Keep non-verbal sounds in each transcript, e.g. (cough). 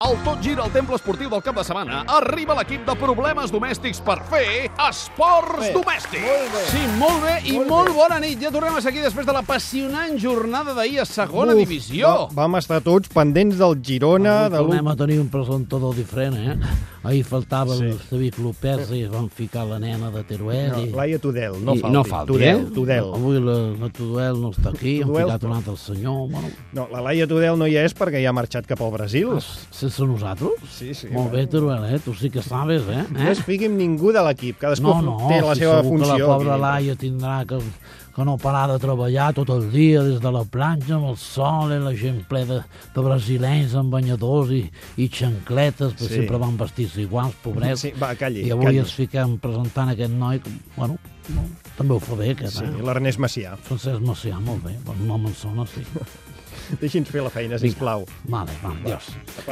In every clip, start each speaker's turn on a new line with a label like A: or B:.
A: El Tot Gira al Temple Esportiu del cap de setmana arriba l'equip de problemes domèstics per fer esports
B: Bé,
A: domèstics.
B: molt bé.
A: Sí, molt bé i
B: Molt
A: molt,
B: bé.
A: bona nit. Ja tornem a ser aquí després de l'apassionant jornada d'ahir a segona
C: Uf,
A: divisió.
C: va- Vam estar tots pendents del Girona, de
D: Tornem
C: l'últim...
D: a tenir un presentador diferent, eh? Ahir faltava sí. el David López i van ficar la nena de Teruel.
C: No,
D: i...
C: Laia Tudel, no
D: i- i
C: falti.
D: no falti,
C: Tudel,
D: eh?
C: Tudel.
D: Avui la, la Tudel no està aquí, han
C: Tudel-
D: ficat un altre senyor. Bueno,
C: No, la Laia Tudel no hi és perquè ja ha marxat cap al Brasil.
D: s- sense nosaltres?
C: Sí, Ah. sí,
D: Ah, Molt bé, Teruel, eh? Tu sí que sabes, eh?
C: No es
D: eh?
C: fiqui amb ningú de l'equip, cadascú
D: No, no,
C: té la
D: si
C: seva
D: segur
C: funció.
D: que la pobra
C: evidentment.
D: Laia tindrà que, que no parar de treballar tot el dia, des de la platja, amb el sol i la gent ple de, de brasilenys amb banyadors i, i xancletes, perquè
C: Sí.
D: sí. sempre van vestits iguals, pobrets.
C: Sí, va, calli,
D: I avui
C: calli.
D: ens fiquem presentant aquest noi, que, bueno, no, també ho fa bé, aquest,
C: Sí,
D: eh?
C: l'Ernest Macià.
D: Francesc Macià, molt bé, el nom em sona, sí.
C: Deixi'ns fer la feina, sisplau.
D: Vale, va, adiós.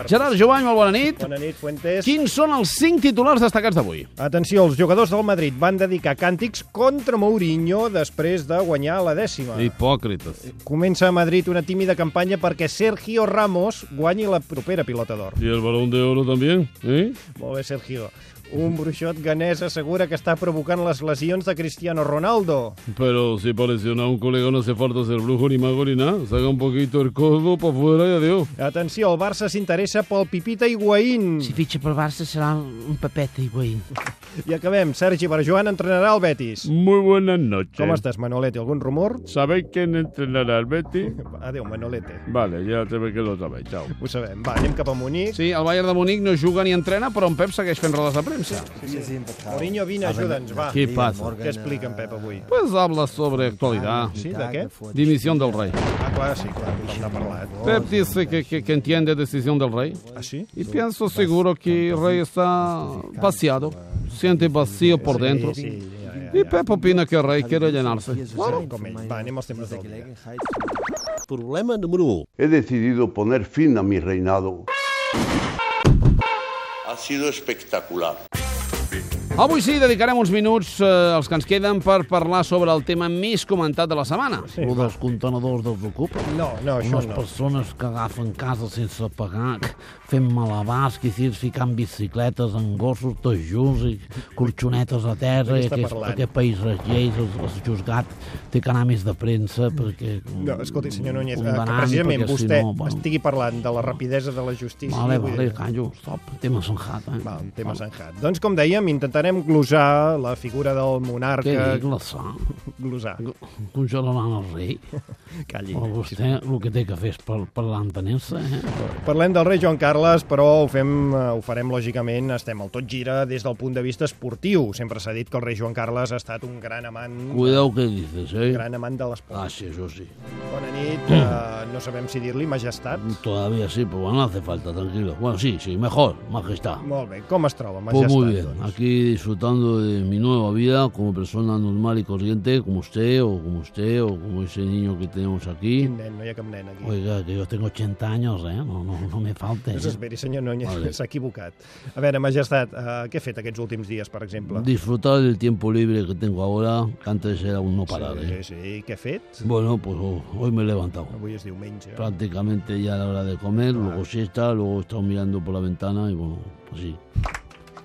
A: Gerard Jovany, molt bona nit.
C: Bona nit, Fuentes.
A: Quins són els cinc titulars destacats d'avui?
C: Atenció, els jugadors del Madrid van dedicar càntics contra Mourinho després de guanyar la dècima.
E: Hipòcrites.
C: Comença a Madrid una tímida campanya perquè Sergio Ramos guanyi la propera pilota d'or.
E: ¿Y el balón de oro también? ¿Eh?
C: Molt bé, Sergio. Un bruixot ganès assegura que està provocant les lesions de Cristiano Ronaldo.
E: Pero si para lesionar a un colega no hace falta ser brujo ni mago ni nada. Saca un poquito el codo para afuera y adiós.
C: Atenció, el Barça s'interessa pel Pipita Higuaín.
D: Si fitxa per Barça serà un papet i guaïn.
C: I acabem. Sergi Barjoan entrenarà el Betis.
E: Muy buenas noches.
C: Com estàs, Manolete? Algun rumor?
E: ¿Sabéis quién entrenará al Betty?
C: Adéu, Manolete.
E: Vale, ya se ve que lo sabéis. Chao.
C: Ho sabem. Va, anem cap a Munic.
A: Sí, el Bayern de Munic no juga ni entrena, però en Pep segueix fent rodes de premsa.
C: Mourinho, vine, ajuda'ns, va.
E: ¿Qué pasa?
C: Què explica en Pep avui?
A: Pues habla sobre
E: Ah,
A: actualidad.
C: Sí, de què?
A: Dimisión del rey.
C: Ah, clar, sí, clar, tothom n'ha parlat.
E: Pep dice que, que, que entiende decisión del rey.
C: Ah, sí?
E: Y pienso seguro que el rey está vaciado. Siente vacío por dentro.
C: Sí, sí, ja, ja,
E: Y
C: ja.
E: Pep opina que el rey quiere llenarse. Claro.
C: Com ell. Va, anem als temes del dia.
B: Problema número um. 1.
F: He decidido poner fin a mi reinado. Ha sido espectacular.
A: Avui sí, dedicarem uns minuts, eh, els que ens queden, per parlar sobre el tema més comentat de la setmana.
D: Sí, dels contenedors dels ocupa.
C: No, no, això
D: Unes
C: no.
D: persones que agafen casa sense pagar, fent malabars, que si es ficant bicicletes en gossos tots junts i corxonetes a terra. I
C: De què està
D: aquest,
C: parlant?
D: aquest país, les lleis, els, els juzgat, té que anar més de premsa perquè...
C: No, escolti, senyor Núñez, eh, que
D: condenant,
C: precisament
D: perquè si
C: vostè
D: no, bueno.
C: estigui parlant de la rapidesa de la justícia.
D: Vale,
C: vull
D: vale,
C: dir-
D: callo, stop, tema sanjat, eh?
C: Val, tema zanjat. Doncs, com dèiem, intentarem glosar la figura del
D: Què
C: monarca...
D: dic, la sa?
C: Glosar.
D: Congelant el rei?
C: Calli.
D: Però vostè el que té que fer és par- parlar en tenença, eh?
C: Parlem del rei Joan Carles, però ho, fem, eh, ho farem, lògicament, estem al tot gira des del punt de vista esportiu. Sempre s'ha dit que el rei Joan Carles ha estat un gran amant
D: Cuideu què dices, eh?
C: gran amant de l'esport.
D: Gràcies, jo sí.
C: Bona nit,
D: Mm.
C: eh, no sabem si dir-li majestat.
D: Todavía sí, pero no hace falta, tranquilo. Bueno, sí, sí, mejor, majestad.
C: Molt bé, com es troba,
D: Pues
C: majestat?
D: muy bien,
C: doncs?
D: aquí disfrutando de mi nueva vida como persona normal y corriente, como usted, o como usted, o como ese niño que tenemos aquí.
C: Quin nen, no hi ha cap nen aquí.
D: Oiga, que yo tengo 80 años, ¿eh? No, no, no me falte.
C: No
D: ¿eh?
C: s'esperi, senyor Núñez,
D: Vale.
C: s'ha equivocat. A veure, majestat, eh, què ha fet aquests últims dies, per exemple?
D: Disfrutar del tiempo libre que tengo ahora, que antes era un no parar,
C: Sí,
D: ¿eh?
C: sí, sí. què ha fet?
D: Bueno, pues oh, hoy me he levantado.
C: Avui es diumenge.
D: Prácticamente ya a la hora de comer, luego siesta, luego he estado mirando por la ventana y bueno, pues sí.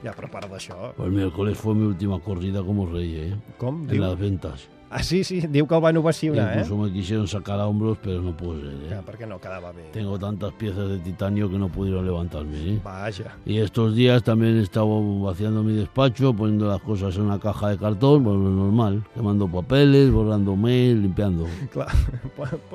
C: Ja, però a part d'això...
D: Pues el miércoles fue mi última corrida como rey, ¿eh?
C: Com?
D: En
C: Diu...
D: las ventas.
C: Ah, sí, sí, diu que el van ovacionar, eh?
D: Incluso me quisieron sacar a hombros, pero no pude ser. ¿eh?
C: Ja, perquè no quedava bé.
D: Tengo tantas piezas de titanio que no pudieron levantarme. ¿eh?
C: Vaja. (laughs)
D: Y estos días también he estado vaciando mi despacho, poniendo las cosas en una caja de cartón, bueno, lo normal, quemando papeles, borrando mail, limpiando.
C: Clar,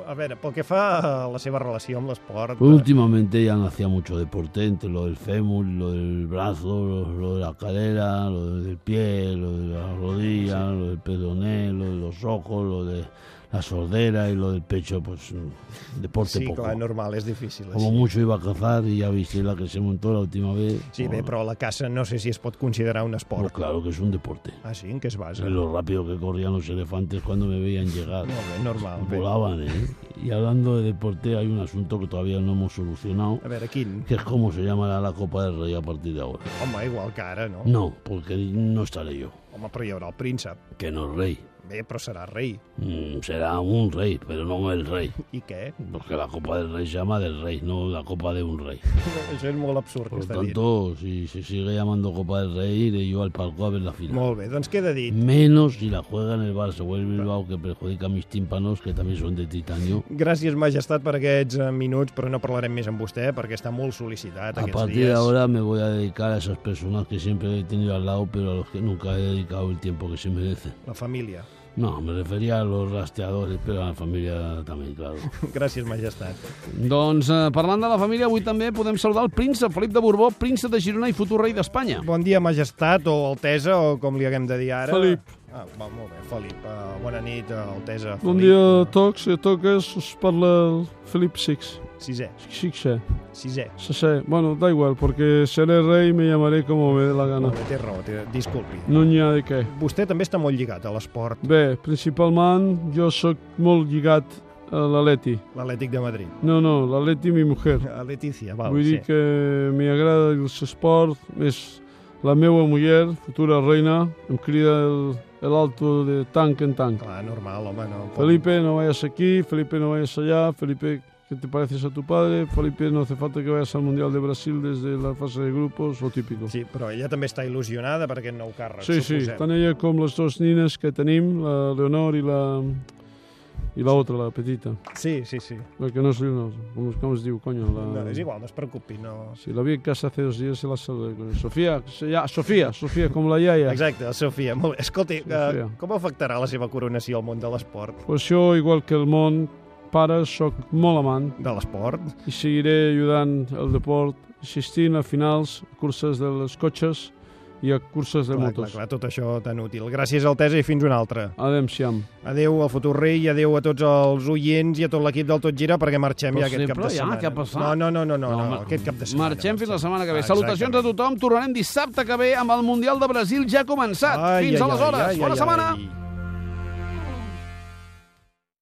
C: a veure, pel que fa a la seva relació amb l'esport... eh,
D: Pues últimamente ya no hacía mucho deporte, entre lo del fémur, lo del brazo, lo, lo de la cadera, lo del pie, lo de la rodilla, lo del pedoné, lo de los ojos, lo de la sordera y lo del pecho, pues mm, deporte
C: Sí, pues
D: poco.
C: clar, normal, és difícil.
D: Como
C: Així.
D: mucho iba a cazar y ya viste la que se montó la última vez.
C: Sí, bé,
D: Bueno,
C: però la caça no sé si es pot considerar un
D: pues
C: esport.
D: claro que es un deporte.
C: Ah, sí? En què es basa?
D: En lo rápido que corrían los elefantes cuando me veían llegar.
C: Molt bé, normal. Bé.
D: Volaban, ¿eh? Y hablando de deporte, hay un asunto que todavía no hemos solucionado,
C: A veure, quin?
D: que es cómo se llamará la Copa del Rey a partir de ahora. Mm.
C: Home, igual que ara, no?
D: No, porque no estaré yo,
C: Home, però hi haurà el príncep.
D: que no es rey.
C: Bé, però serà rei.
D: Mm, será un rey, pero no el rey.
C: I què? (laughs)
D: Porque la copa del rey se llama del rey, no la copa de un rey.
C: Això és molt absurd,
D: Por
C: que
D: lo
C: està dit.
D: tanto, si se sigue llamando copa del rey, iré yo al palco a ver la final.
C: Molt bé, doncs queda dit.
D: Menos si la juega en el Barça o el Bilbao, que perjudica mis tímpanos, que también son de titanio.
C: Gràcies, majestat, per aquests eh, minuts, però no parlarem més amb vostè perquè està molt sol·licitat
D: A
C: aquests
D: partir de
C: dies.
D: ahora me voy a dedicar a esas personas que siempre he tenido al lado, pero a los que nunca he dedicado el tiempo que se merecen.
C: La família. (laughs)
D: No, me refería a los rastreadores, pero a la familia también, claro.
C: Gràcies, majestat.
A: (laughs) Doncs eh, parlant de la família, avui també podem saludar el príncep Felip de Borbó, príncep de Girona i futur rei d'Espanya.
C: Bon dia, majestat, o altesa, o com li haguem de dir ara.
E: Felip.
C: Ah, va, molt bé, Felip. Uh, bona nit, eh, altesa.
E: Bon
C: Felip.
E: dia a tots i a totes, us parla el Felip Six.
C: Sisè,
E: Sixé,
C: sisè.
E: sisé. Bueno, da igual, porque seré rey me llamaré como me dé la gana.
C: No. Té raó, té... disculpi.
E: No n'hi ha de què.
C: Vostè també està molt lligat a l'esport,
E: Bé, principalment jo sóc molt lligat a l'Aleti.
C: l'Atlètic de Madrid.
E: No, no, l'Aleti mi mujer.
C: A Letícia, val,
E: Vull dir
C: sí.
E: que m'hi agrada l'esport, és la meva muller, futura reina, em crida el- l'alto de tanc en tanc.
C: Clar, normal, home, no. pot-
E: Felipe, no vayas aquí, Felipe, no vayas allá, Felipe, ¿qué te pareces a tu padre? Felipe, no hace falta que vayas al Mundial de Brasil desde la fase de grupos, lo típico. Sí,
C: Sí, però ella també està il·lusionada per aquest nou càrrec,
E: sí, sí
C: suposem.
E: tant ella com les dues nines que tenim, la Leonor i la... i la otra, la petita,
C: Sí, sí, sí.
E: la que no és Leonor, com, com es diu, coño?
C: No,
E: La...
C: és igual, no es preocupi, no...
E: Sí, la vi en casa hace dos días, se la saludé. con- Sofía, se ya, Sofía, Sofía, com la iaia.
C: Exacte, Sofia, molt bé. Escolti,
E: Sofia.
C: eh, com afectarà la seva coronació al món de l'esport?
E: Pues jo, igual que el món, pare, sóc molt amant
C: De l'esport?
E: i seguiré ajudant el deport, assistint a finals, a curses dels cotxes i a curses de
C: Clar, clar,
E: motos.
C: clar, tot això tan útil. Gràcies, Altesa, i fins una altra.
E: Adem-siam.
C: Adeu al futur rei i adeu a tots els oients i a tot l'equip del Tot Gira perquè marxem
A: Però
C: ja aquest cap
A: sempre
C: de
A: ja,
C: setmana.
A: què ha passat?
C: No, no, no, no, no, no,
A: home,
C: aquest cap de setmana.
A: Marxem fins la setmana que ve.
C: Ah,
A: Salutacions a
C: exactament.
A: tothom. Tornarem dissabte que ve amb el Mundial de Brasil ja començat.
C: Ai, ai,
A: fins
C: ai,
A: aleshores.
C: ai,
A: Bona
C: ai,
A: setmana.
C: ai.